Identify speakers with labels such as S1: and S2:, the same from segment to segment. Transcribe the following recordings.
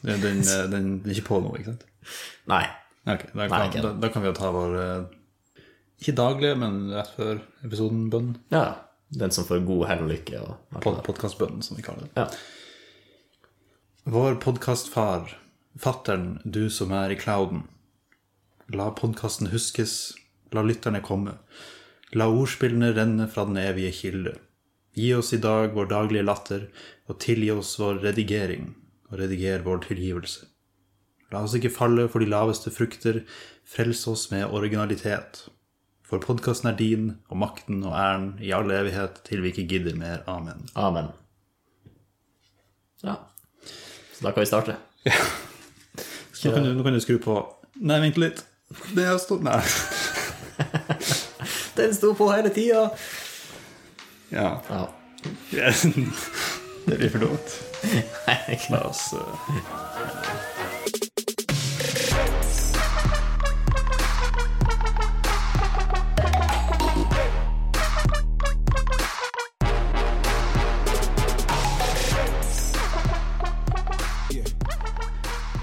S1: Den, den, eh, den den er ikke på nå, ikke sant?
S2: Nei.
S1: Nei, ok. da,
S2: Nei,
S1: kan,
S2: ikke
S1: da, da kan vi jo ta vår eh, Ikke daglige, men rett før episoden Bønn.
S2: Ja. Den som får god hell og lykke og
S1: Pod, Podkastbønnen, som vi kaller det.
S2: Ja.
S1: Vår podkastfar, fattern, du som er i clouden. La podkasten huskes, la lytterne komme. La ordspillene renne fra den evige kilde. Gi oss i dag vår daglige latter, og tilgi oss vår redigering, og rediger vår tilgivelse. La oss ikke falle for de laveste frukter, frels oss med originalitet. For podkasten er din, og makten og æren i all evighet til vi ikke gidder mer. Amen.
S2: Amen. Ja. Så da kan vi starte.
S1: Nå kan, du, nå kan du skru på Nei, vent litt. Det er stort Nei.
S2: Den sto på hele tida!
S1: Ja.
S2: Ja.
S1: Det blir for dumt. La oss eh,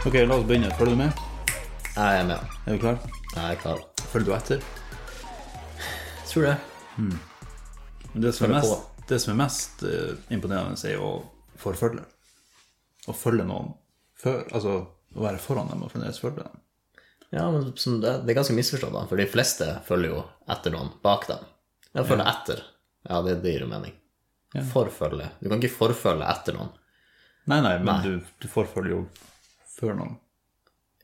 S1: Ok, la oss begynne. Følger du med?
S2: Jeg er med.
S1: Er du klar?
S2: Jeg er klar.
S1: Følger du etter?
S2: Tror det.
S1: Men det som er
S2: Følge
S1: mest, det som er mest eh, imponerende, er jo å forfølge. Å følge noen før Altså å være foran dem og fremdeles følge dem.
S2: Ja, men som det, det er ganske misforstått, da. For de fleste følger jo etter noen bak dem. Ja, følge etter. Ja, det, det gir jo mening. Forfølge. Du kan ikke forfølge etter noen.
S1: Nei, nei, men Du, du forfølger jo før noen.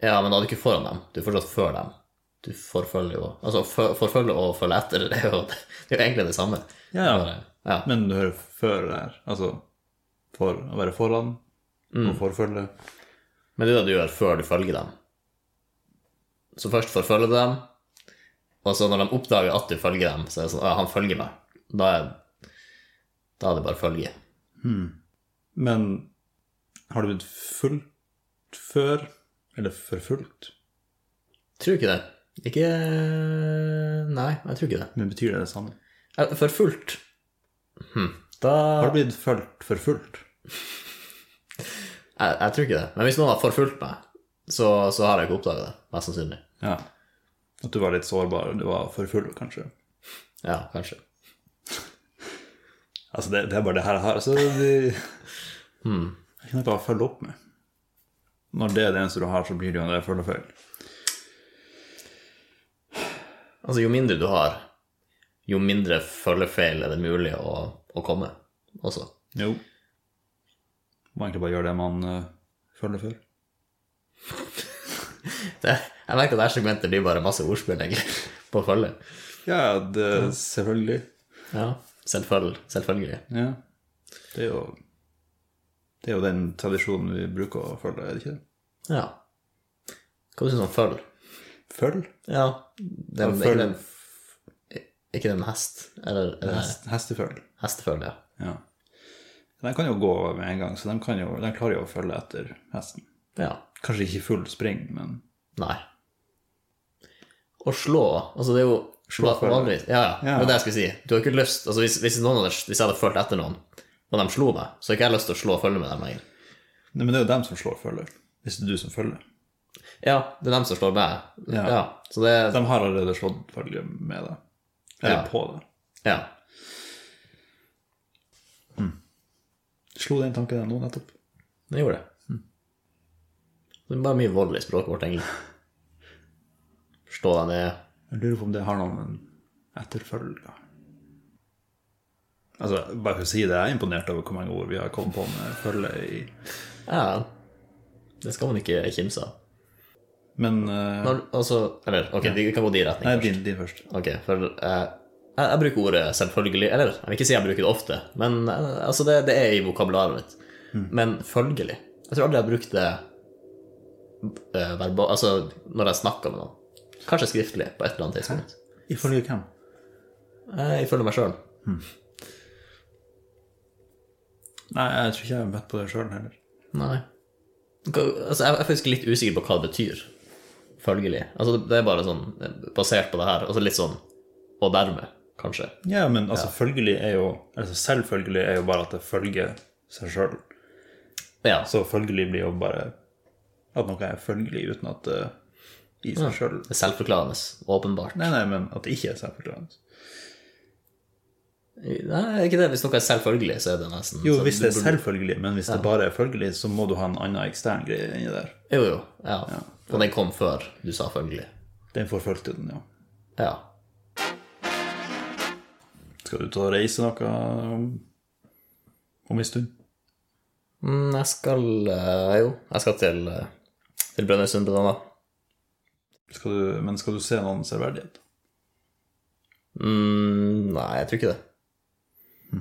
S2: Ja, men da er du ikke foran dem. Du er fortsatt før dem. Du forfølger jo Altså, for, forfølge og følge etter, det er jo, det er jo egentlig det samme.
S1: Ja, ja.
S2: Bare- ja.
S1: Men du hører før der. Altså for å være foran og forfølge.
S2: Men det er det du gjør før du følger dem. Så først forfølger du dem, og så når de oppdager at du følger dem, så er det sånn «Å, han følger meg. Da er, da er det bare følge.
S1: Men har du blitt fulgt før? Eller forfulgt?
S2: Tror ikke det. Ikke Nei, jeg tror ikke det.
S1: Men betyr det det samme?
S2: Eh, For fullt hm. Da
S1: Har
S2: jeg,
S1: du blitt fulgt forfulgt?
S2: jeg tror ikke det. Men hvis noen har forfulgt meg, så, så har jeg ikke oppdaga det. Mest sannsynlig.
S1: Ja. At du var litt sårbar? Du var for full, kanskje?
S2: Ja, kanskje.
S1: Altså, det, det er bare det her jeg har. Altså, det, Jeg kan ikke bare følge opp med. Når det er det eneste du har, så blir det jo en del følgefeil.
S2: Altså, jo mindre du har, jo mindre følgefeil er det mulig å, å komme også.
S1: Jo. Må egentlig bare gjøre det man eh, følger før.
S2: Det, jeg merker at dette segmentet blir bare masse ordspill, egentlig, på følge.
S1: Ja, det, selvfølgelig.
S2: Ja, selvfølgelig. selvfølgelig.
S1: Ja. Det er jo Det er jo den tradisjonen vi bruker å følge, er det ikke det?
S2: Ja. Hva syns du om føll?
S1: Følg?
S2: Ja, den,
S1: Ja,
S2: ikke,
S1: føll.
S2: den, ikke den med hest? Eller, eller
S1: Hest, hestefølg.
S2: hesteføll, ja.
S1: Ja. De kan jo gå med en gang, så de, kan jo, de klarer jo å følge etter hesten.
S2: Ja.
S1: Kanskje ikke full spring, men
S2: Nei. Å slå Altså, det er jo slå
S1: føll.
S2: vanligvis Ja, ja. Det
S1: Ja.
S2: var det jeg skulle si. Du har ikke lyst Altså, hvis, hvis, noen hadde, hvis jeg hadde fulgt etter noen, og de slo meg, så har ikke jeg lyst til å slå følge med dem lenger.
S1: Nei, men det er jo dem som slår følger, hvis det er du som følger.
S2: Ja, det er dem som slår meg. Ja.
S1: Ja.
S2: Så det
S1: De har allerede slått følge med deg. Eller
S2: Ja.
S1: på deg.
S2: Ja.
S1: Slo den tanken deg nå nettopp?
S2: Den gjorde det. Det er bare mye vold i språket vårt, egentlig. Slå deg ned.
S1: Jeg lurer på om det har noen etterfølger. Altså, bare for å si det, jeg er imponert over hvor mange ord vi har kommet på med følge i
S2: Ja, det skal man ikke kimse av.
S1: Men eh,
S2: Når- Altså, eller ok, vi kan gå de
S1: Nei,
S2: retningene.
S1: din, din først.
S2: Ok, for eh, jeg, jeg bruker ordet selvfølgelig, eller jeg vil ikke si jeg bruker det ofte, men eh, altså det, det er i vokabularet mitt. Men følgelig. Jeg tror aldri jeg har brukt det eh, verba, altså når jeg snakker med noen. Kanskje skriftlig på et eller annet tidspunkt.
S1: Ifølge hvem?
S2: Eh, Ifølge meg sjøl.
S1: Nei, jeg tror ikke jeg har møtt på det sjøl heller.
S2: Nei. Hva- Altså, jeg er faktisk litt usikker på hva det betyr. Følgelig. Altså, det- det er bare sånn eh, basert på det her. Altså litt sånn og dermed, kanskje.
S1: Ja, men altså, følgelig er jo Altså, selvfølgelig er jo bare at det følger seg sjøl.
S2: Ja.
S1: Så følgelig blir jo bare At noe er følgelig uten at det i seg sjøl
S2: Det er Selvforklarende, åpenbart.
S1: Nei, nei, men at det ikke er selvforklarende.
S2: Nei, er ikke det. Hvis noe er selvfølgelig, så er det nesten
S1: Jo,
S2: så
S1: hvis
S2: du
S1: Altså, det er
S2: burde-
S1: selvfølgelig, men hvis det bare er følgelig, så må du ha en annen ekstern greie inni der.
S2: Jo, jo. Ja. Og den kom før du sa følgelig.
S1: Den forfulgte den, ja.
S2: Ja.
S1: Skal du ta og reise noe om, om en stund?
S2: Mm, jeg skal eh, Jo, jeg skal til, eh, til Brønnøysund blant annet.
S1: Skal du, men skal du se noen severdighet?
S2: Mm, nei, jeg tror ikke det.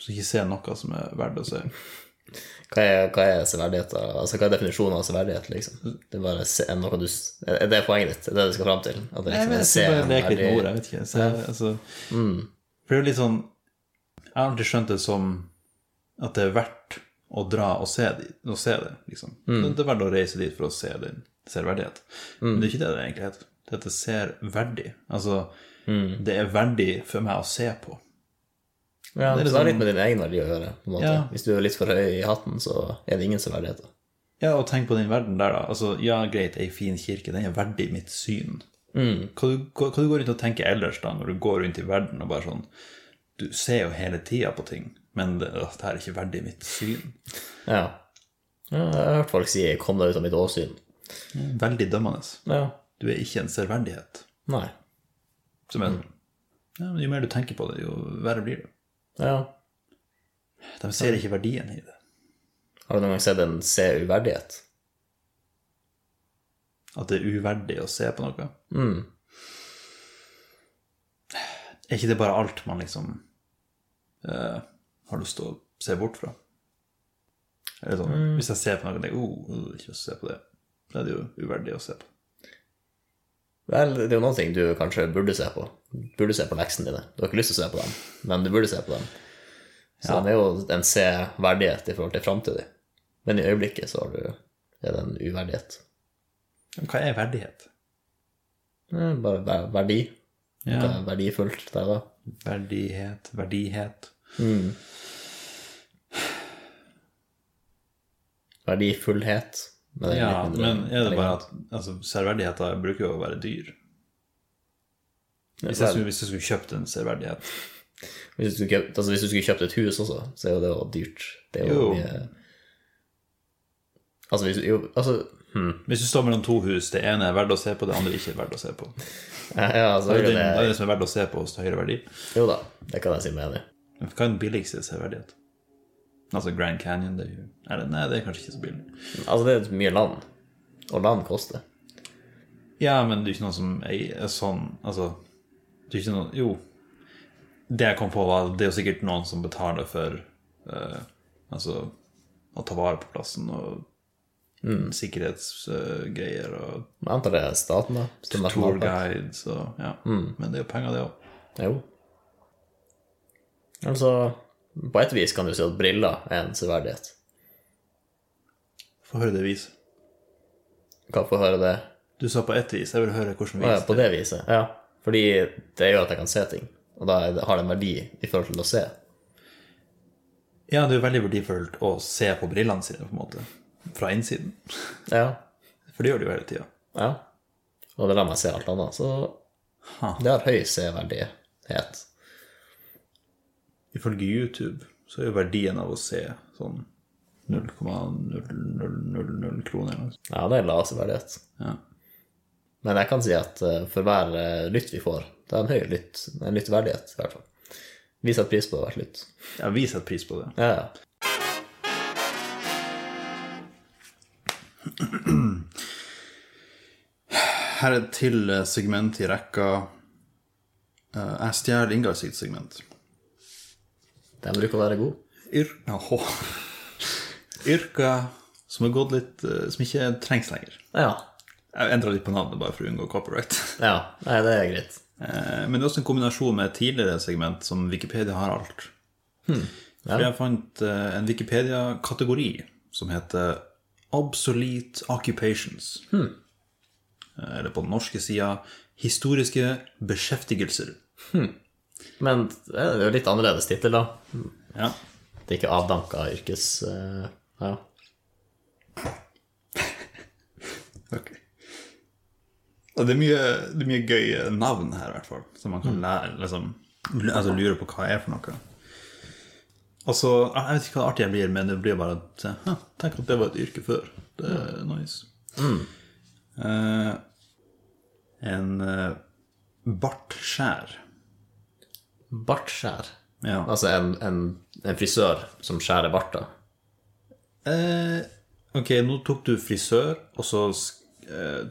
S1: Så ikke se noe som er verdt å se.
S2: Hva er, hva er severdighet? da? Altså, hva er definisjonen av severdighet, liksom? Det er bare se, er noe du s- Er det poenget ditt? Er det du skal fram til? At det,
S1: Nei,
S2: liksom,
S1: men jeg
S2: se Mm,
S1: synes bare
S2: en
S1: det er ikke
S2: verdi-
S1: noe ord, jeg vet ikke. Så, jeg- altså, For det er jo litt sånn Jeg har alltid skjønt det som at det er verdt å dra og se, dit, og se det, liksom. Det er verdt å reise dit for å se din selvverdighet. Men det er ikke det det egentlig heter. Det heter ser verdig. Altså,
S2: mm.
S1: det er verdig for meg å se på.
S2: Ja,
S1: Det
S2: det,
S1: er liksom-
S2: har litt med din egen verdi å gjøre. på en måte.
S1: Ja.
S2: Hvis du er litt for høy i hatten, så er det ingen severdigheter.
S1: Ja, og tenk på den verden der, da. Altså, ja, greit, ei fin kirke, den er verdig mitt syn.
S2: Mm.
S1: Hva, du, hva, hva du går rundt og tenker ellers, da, når du går rundt i verden og bare sånn Du ser jo hele tida på ting, men det, åh, det her er ikke verdig mitt syn.
S2: Ja. ja. Jeg har hørt folk si 'kom deg ut av mitt åsyn'.
S1: Veldig dømmende.
S2: Ja.
S1: Du er ikke en serverdighet.
S2: Nei.
S1: Som er, sånn, ja, men jo mer du tenker på det, jo verre blir det.
S2: Ja.
S1: De ser ikke verdien i det.
S2: Har du noen gang sett en se uverdighet?
S1: At det er uverdig å se på noe.
S2: Mm.
S1: Er ikke det bare alt man liksom eh, har lyst til å se bort fra? Eller sånn, Hvis jeg ser på noe og tenker oh, ikke lyst til å se på det, da er det jo uverdig å se på.
S2: Vel, det er jo noen ting du kanskje burde se på. Du Burde se på leksene dine. Du har ikke lyst til å se på dem, men du burde se på dem. Så det er jo en se-verdighet i forhold til framtida. Men i øyeblikket så har du, er det en uverdighet.
S1: Men Hva er verdighet?
S2: Ja, Bare ver- verdi.
S1: Ja.
S2: Det er verdifullt der, da.
S1: Verdighet, verdighet
S2: Mm. Verdifullhet. Men det er
S1: Ja,
S2: litt mindre-
S1: men er det bare at altså, Serverdigheter bruker jo å være dyr. Hvis jeg, skulle, hvis jeg skulle kjøpt en serverdighet
S2: Hvis du skulle kjøpt, altså hvis du skulle kjøpt et hus også, så er jo det jo dyrt. Det er jo,
S1: Jo.
S2: mye Altså, hvis, jo, altså, hmm.
S1: Hvis du står mellom to hus, det ene er verdt å se på, det andre ikke er verdt å se på.
S2: ja, altså,
S1: Det er jo det,
S2: jo,
S1: det, er
S2: det,
S1: det som er verdt å se på hos høyere verdi.
S2: jo da, det kan jeg si med enig i.
S1: Men Hva er den billigste severdighet? Altså Grand Canyon, det er jo er det, Nei, det er kanskje ikke så billig.
S2: Altså, det er mye land, og land koster.
S1: Ja, men det er jo ikke noe som er, er sånn Altså, det er jo ikke noe Jo. Det jeg kom på, var at det er jo sikkert noen som betaler for eh, Altså å ta vare på plassen og sikkerhetsgreier og
S2: Men jeg antar det er staten, da. hvis det er
S1: tour
S2: nasjonalpark.
S1: guides og Ja. Men det er jo penger, det òg.
S2: Jo. Altså, på et vis kan du si at briller er en severdighet.
S1: Få høre det vis.
S2: Kan få høre det
S1: Du sa på ett vis. Jeg vil høre hvordan vis.
S2: Ja, på det viset, ja. Fordi det gjør at jeg kan se ting, og da er det- har det en verdi i forhold til å se.
S1: Ja, det er jo veldig verdifullt å se på brillene sine, på en måte. Fra innsiden.
S2: Ja,
S1: For det gjør de jo hele tida.
S2: Ja. Og det lar meg se alt annet. Så
S1: Ha.
S2: det har høy severdighet.
S1: Ifølge YouTube så er jo verdien av å se sånn 0,0000 kroner eller noe sånt.
S2: Ja, det er lav severdighet.
S1: Ja.
S2: Men jeg kan si at eh, for hver eh, lytt vi får, det er en høy lytt, en lyttverdighet, i hvert fall. Vi setter pris på hvert lytt.
S1: ja, vi setter pris på det.
S2: Ja, ja.
S1: Her er et til eh, segment i rekka. Eh, Jeg stjeler Ingar sitt segment.
S2: Den bruker å være god.
S1: Yr Åh. Yrker som har gått litt eh, Som ikke trengs lenger.
S2: Ja.
S1: Jeg endra litt på navnet bare for å unngå copyright.
S2: ja. Nei, det er greit.
S1: Eh, Men det er også en kombinasjon med et tidligere segment som Wikipedia har alt. For jeg fant eh, en Wikipedia-kategori som heter Obsolete Occupations. Eh, Eller på den norske sida Historiske beskjeftigelser.
S2: Men eh, det er jo litt annerledes tittel, da.
S1: Ja.
S2: Det er ikke avdanka yrkes... eh, ja.
S1: Ja, Det er mye, det er mye gøye navn her, i hvert fall. Som man kan lære, liksom, altså, lure på hva er for noe. Og så, Jeg jeg vet ikke hva artig jeg blir, men det blir bare at eh, «Hæ, Tenk at det var et yrke før. Det er nice. Eh, en eh, bartskjær.
S2: Bartskjær.
S1: Ja.
S2: Altså en, en, en frisør som skjærer barter.
S1: Eh, ok, nå tok du frisør, og så sk- eh,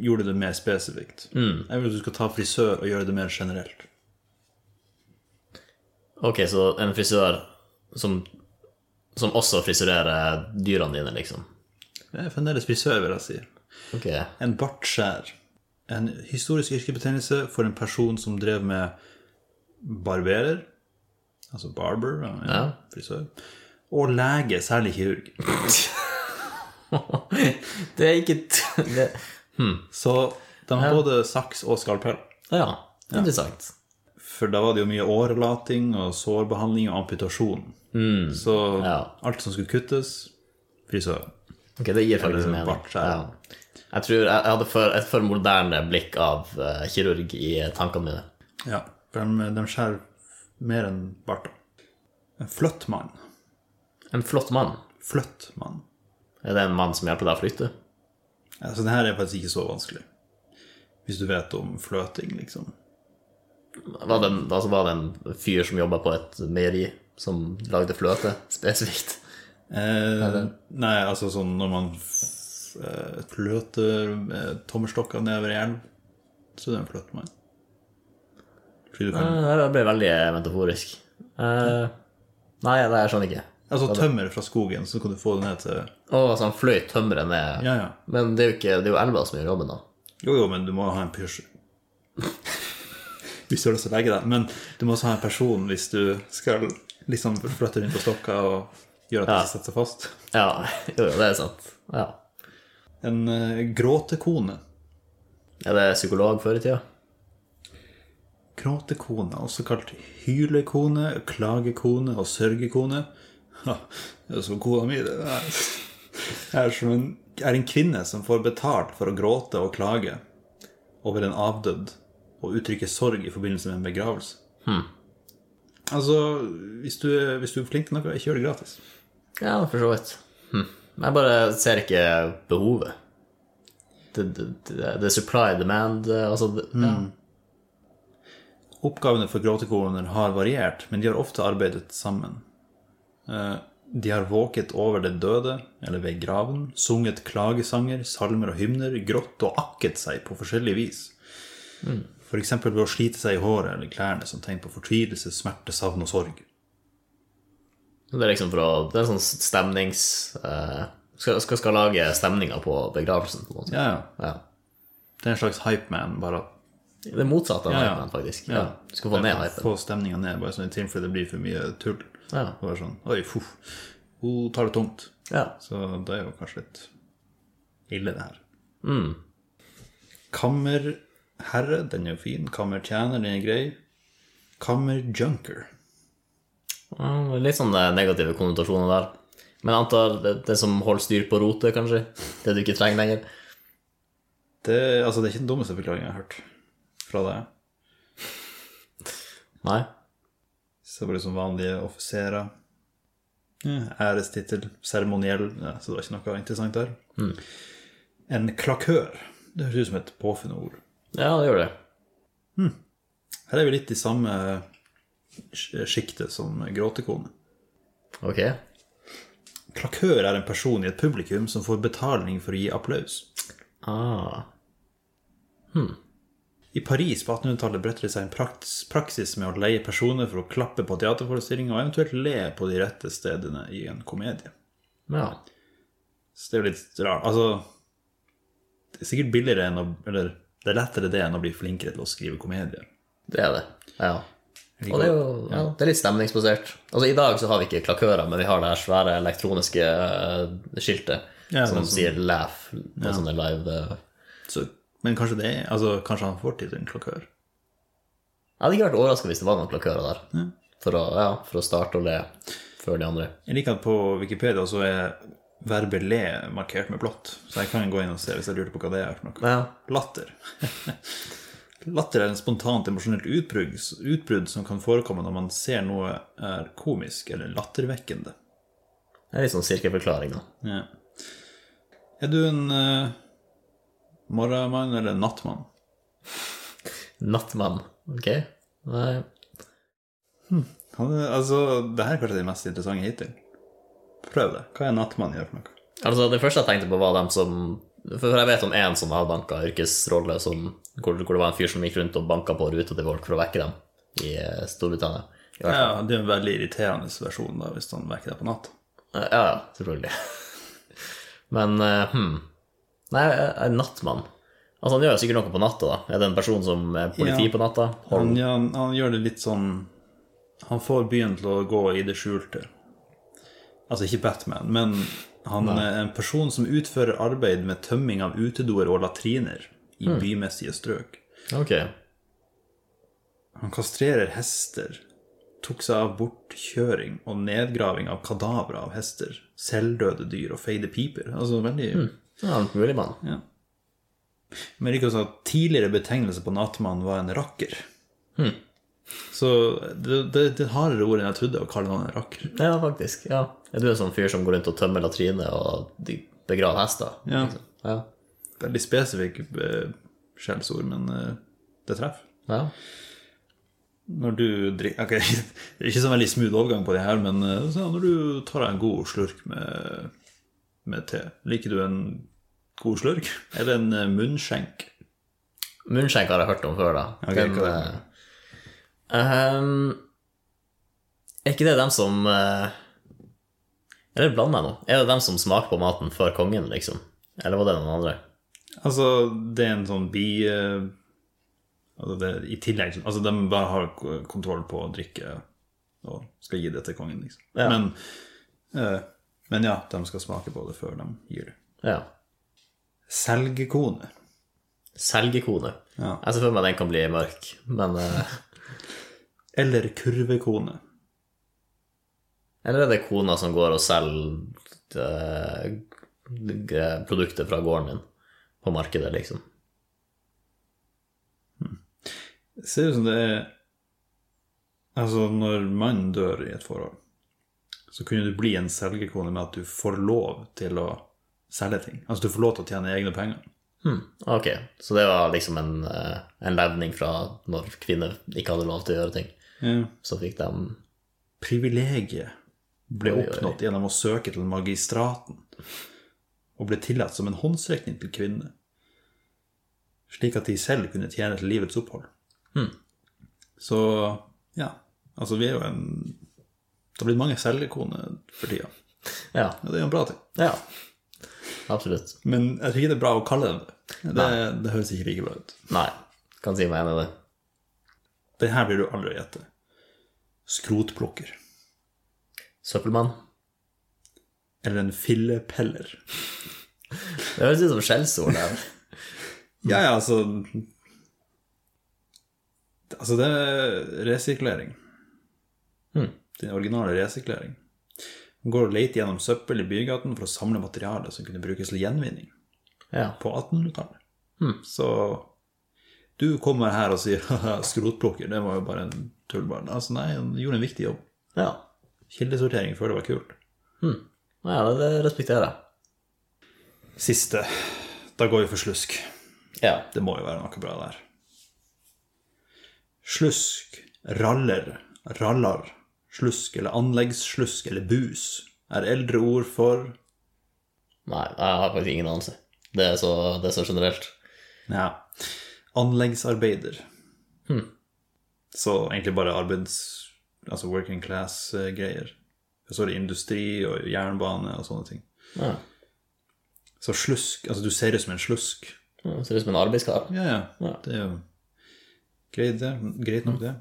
S1: gjorde du det mer spesifikt. Jeg vil at du skal ta frisør og gjøre det mer generelt.
S2: Ok, så en frisør som, som også frisurerer dyrene dine, liksom.
S1: Det er fremdeles frisør, vil jeg si.
S2: Ok.
S1: En bartskjær. En historisk yrkebetegnelse for en person som drev med barberer, altså barber, ja, ja,
S2: Ja.
S1: frisør, og lege, særlig kirurg.
S2: Det er ikke t det,
S1: Så de har både saks og skalpell.
S2: Ja, interessant.
S1: For da var det jo mye årelating og sårbehandling og amputasjon. Så
S2: Ja.
S1: alt som skulle kuttes, frisør.
S2: Ok, det gir faktisk
S1: Eller
S2: mening.
S1: bartskjær.
S2: Ja. Jeg tror jeg, jeg hadde for, et for moderne blikk av eh, kirurg i tankene mine.
S1: Ja, for de, de skjærer mer enn barta. En fløttmann.
S2: En flott mann.
S1: Fløttmann.
S2: Er det en mann som hjelper deg å flytte?
S1: Altså, det her er faktisk ikke så vanskelig. Hvis du vet om fløting, liksom.
S2: Var det, en, altså var det en fyr som jobba på et meieri som lagde fløte spesifikt?
S1: Eh, nei, altså sånn når man f- eh, fløter eh, tommelstokker nedover i elv, så er det en fløttmann. Fordi du kan
S2: Eh, Det ble veldig metaforisk. Eh, nei, det jeg skjønner ikke.
S1: Altså tømmer fra skogen, så kan du få det ned til
S2: Å, så han fløy tømmeret ned.
S1: Ja, ja.
S2: Men det er jo ikke, det er jo elva som gjør jobben, da.
S1: Jo, jo, men du må ha en pers... Hvis du har lyst til å legge deg. Men du må også ha en person hvis du skal liksom flytte rundt på stokka og gjøre at det ikke setter seg fast.
S2: Ja, jo, jo, det er sant. Ja.
S1: En eh, gråtekone.
S2: Er det psykolog før i tida?
S1: Gråtekone, også kalt hylekone, klagekone og sørgekone. Ha, det er som kona mi, det er. Jeg er, som en, jeg er en kvinne som får betalt for å gråte og klage over en avdød og uttrykke sorg i forbindelse med en begravelse. Altså, hvis du, er- hvis du er flink til noe, ikke gjør det gratis.
S2: Ja, for så vidt. Hm. Men jeg bare ser ikke behovet. Det, det, det, det er supply demand, eh, altså det,
S1: Mm. Oppgavene for gråtekoloner har variert, men de har ofte arbeidet sammen. Eh, De har våket over det døde, eller ved graven, sunget klagesanger, salmer og hymner, grått og akket seg på forskjellig vis.
S2: Mm.
S1: For F.eks. ved å slite seg i håret eller klærne som tegn på fortvilelse, smerte, savn og sorg.
S2: ja. det er liksom for å Det er en sånn stemnings... eh, skal, skal, skal lage stemninga på begravelsen, på en måte.
S1: Ja, ja.
S2: Ja.
S1: Det er en slags hypeman, bare at
S2: Det er motsatt av
S1: Ja, ja.
S2: hypen, faktisk. Ja. Du skal få ned hypen.
S1: få stemninga ned, bare sånn i tilfelle det blir for mye tull.
S2: Ja.
S1: Bare sånn Oi, fuff. Hun tar det tungt.
S2: Ja.
S1: Så det er jo kanskje litt ille, det her. Kammerherre, den er jo fin. Kammertjener, den er grei. Kammerjunker.
S2: Ja, Litt sånne negative konnotasjoner der. Men jeg antar det, det som holder styr på rotet, kanskje. Det du ikke trenger lenger.
S1: Det, altså, det er ikke den dummeste forklaringen jeg har hørt fra deg.
S2: Nei.
S1: Så bare som vanlige offiserer. Ja, ærestittel, seremoniell, ja, så det var ikke noe interessant der. En klakør. Det høres ut som et påfunnet ord.
S2: Ja, det gjør det.
S1: Her er vi litt i samme sjiktet som gråtekone.
S2: Ok.
S1: Klakør er en person i et publikum som får betaling for å gi applaus.
S2: Ah.
S1: I Paris på 1800-tallet bredte det seg en praks praksis med å leie personer for å klappe på teaterforestillinger og eventuelt le på de rette stedene i en komedie.
S2: Ja.
S1: Så det er jo litt rart. Altså Det er sikkert billigere enn å Eller det er lettere det enn å bli flinkere til å skrive komedier.
S2: Det er det. Ja. Og det er jo ja, det er litt stemningsbasert. Altså, I dag så har vi ikke klakører, men vi har det her svære elektroniske eh, skiltet
S1: Ja,
S2: som
S1: men så-
S2: sier 'laugh' på sånne live eh.
S1: Så, men kanskje det er Altså kanskje han får tid til en klakør.
S2: Jeg hadde ikke vært overraska hvis det var noen klakører der. For, å, ja, for å starte å le før de andre.
S1: Jeg liker at på Wikipedia så er verbet le markert med blått, så jeg kan gå inn og se hvis jeg lurer på hva det er for noe.
S2: Ja.
S1: Latter. Latter er en spontant emosjonelt utbrudd, utbrudd som kan forekomme når man ser noe er komisk eller lattervekkende.
S2: Det er litt sånn sirkelforklaring, da.
S1: Ja. Er du en eh, morgenmann eller en nattmann?
S2: Nattmann. Ok? Nei.
S1: Han, er- altså, det her er kanskje det mest interessante hittil. Prøv det. Hva er en nattmann gjør for noe?
S2: Altså, det første jeg tenkte på, var dem som For jeg vet om én som avdanka yrkesrolle, som, hvor, hvor det var en fyr som gikk rundt og banka på ruta til folk for å vekke dem i eh, Storbritannia. I hvert
S1: Ja, Det er en veldig irriterende versjon da, hvis han vekker deg på natt.
S2: Eh, Ja, ja, selvfølgelig. Men eh, hm. Nei, jeg er nattmann. Altså, han gjør jo sikkert noe på natta, da. Er det en person som er politi
S1: Ja.
S2: på natta?
S1: Han, ja, han, han gjør det litt sånn Han får byen til å gå i det skjulte. Altså ikke Batman, men han er en person som utfører arbeid med tømming av utedoer og latriner i bymessige strøk.
S2: Ok.
S1: Han kastrerer hester, tok seg av bortkjøring og nedgraving av kadavre av hester, selvdøde dyr og feide piper. Altså veldig
S2: Ja, han er en mulig mann.
S1: Ja. Men det er ikke sånn at tidligere betegnelse på nattmann var en rakker. Så det, det, det er hardere ord enn jeg trodde å kalle noen en rakker.
S2: Ja, faktisk. Ja. Er du en sånn fyr som går rundt og tømmer latriner og de- begraver hester?
S1: Ja.
S2: liksom? Ja.
S1: Veldig spesifikk eh, skjellsord, men eh, det treffer.
S2: ja.
S1: Når du drikker Ok, det er ikke så veldig smooth overgang på det her, men eh, så når du tar deg en god slurk med, med te, liker du en god slurk? Eller en eh, munnskjenk?
S2: Munnskjenk har jeg hørt om før, da.
S1: Ok,
S2: Den,
S1: hva er det?
S2: eh, ehm, er ikke det dem som eh, Eller blander jeg nå? Er det dem som smaker på maten før kongen, liksom? Eller var det noen andre?
S1: Altså, det er en sånn bi... eh, Altså det, I tillegg til Altså, de bare har k- kontroll på å drikke og skal gi det til kongen, liksom.
S2: Ja.
S1: Men, eh, men ja, de skal smake på det før de gir det.
S2: Ja.
S1: Selgekone.
S2: Selgekone.
S1: Ja.
S2: Jeg ser for meg den kan bli mørk, men eh,
S1: Eller kurvekone.
S2: Eller er det kona som går og selger eh, g- produkter fra gården din på markedet, liksom?
S1: Ser ut som det er Altså, når mannen dør i et forhold, så kunne du bli en selgekone med at du får lov til å selge ting. Altså, du får lov til å tjene egne penger.
S2: Hmm, ok, så det var liksom en, eh, en levning fra når kvinner ikke hadde lov til å gjøre ting.
S1: Ja.
S2: Så fikk de
S1: privilegiet ble
S2: Oi, oi.
S1: oppnådd gjennom å søke til magistraten og ble tillatt som en håndsrekning til kvinnene, slik at de selv kunne tjene til livets opphold.
S2: Hmm.
S1: Så ja, altså vi er jo en Det har blitt mange selgekoner for tida, og
S2: Ja.
S1: det er jo en bra ting.
S2: ja. Absolutt.
S1: Men jeg tror ikke det er bra å kalle dem det. Det, det høres ikke like bra ut.
S2: Nei, kan si meg enig i det.
S1: Det her blir du aldri å gjette. Skrotplukker.
S2: Søppelmann.
S1: Eller en fillepeller.
S2: Det høres ut som skjellsord. der.
S1: Ja, ja, altså Altså, det er resirkulering.
S2: Hmm.
S1: Den originale resirkulering. Man går og leter gjennom søppel i bygaten for å samle materiale som kunne brukes til gjenvinning
S2: Ja.
S1: på 1800-tallet.
S2: Hmm.
S1: Så du kommer her og sier «Haha, 'skrotplukker', det var jo bare en tullball. Altså, nei, han gjorde en viktig jobb.
S2: ja.
S1: Kildesortering før det var kult.
S2: Hmm. Nei, det, det respekterer jeg.
S1: Siste. Da går vi for slusk.
S2: Ja.
S1: Det må jo være noe bra der. Slusk, raller, rallar, slusk eller anleggsslusk eller bus er eldre ord for
S2: Nei, jeg har faktisk ingen anelse. Det er så, det er så generelt.
S1: ja, anleggsarbeider. Så egentlig bare arbeids... Altså working class-greier. Så er det industri og jernbane og sånne ting.
S2: Ja.
S1: Så slusk Altså, du ser det som en slusk.
S2: Ja, Ser ut som en arbeidskar.
S1: Ja, ja.
S2: Ja.
S1: Det er jo greit, det. Greit nok, det.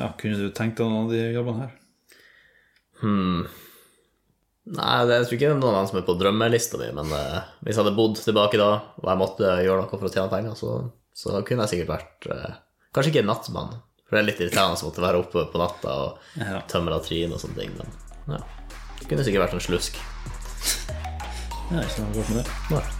S1: Ja, kunne du tenkt deg noen av de jobbene her?
S2: Hmm. Nei, det, jeg tror ikke det er noen annen som er på drømmelista mi, men eh, hvis jeg hadde bodd tilbake da, og jeg måtte gjøre noe for å tjene penger, så, så kunne jeg sikkert vært eh, Kanskje ikke nattmann, for det er litt irriterende å måtte være oppe på natta og
S1: Ja.
S2: tømme latrin og sånne ting, men ja. Jeg kunne sikkert vært en slusk.
S1: Ja, ikke noe galt med det.
S2: Nei.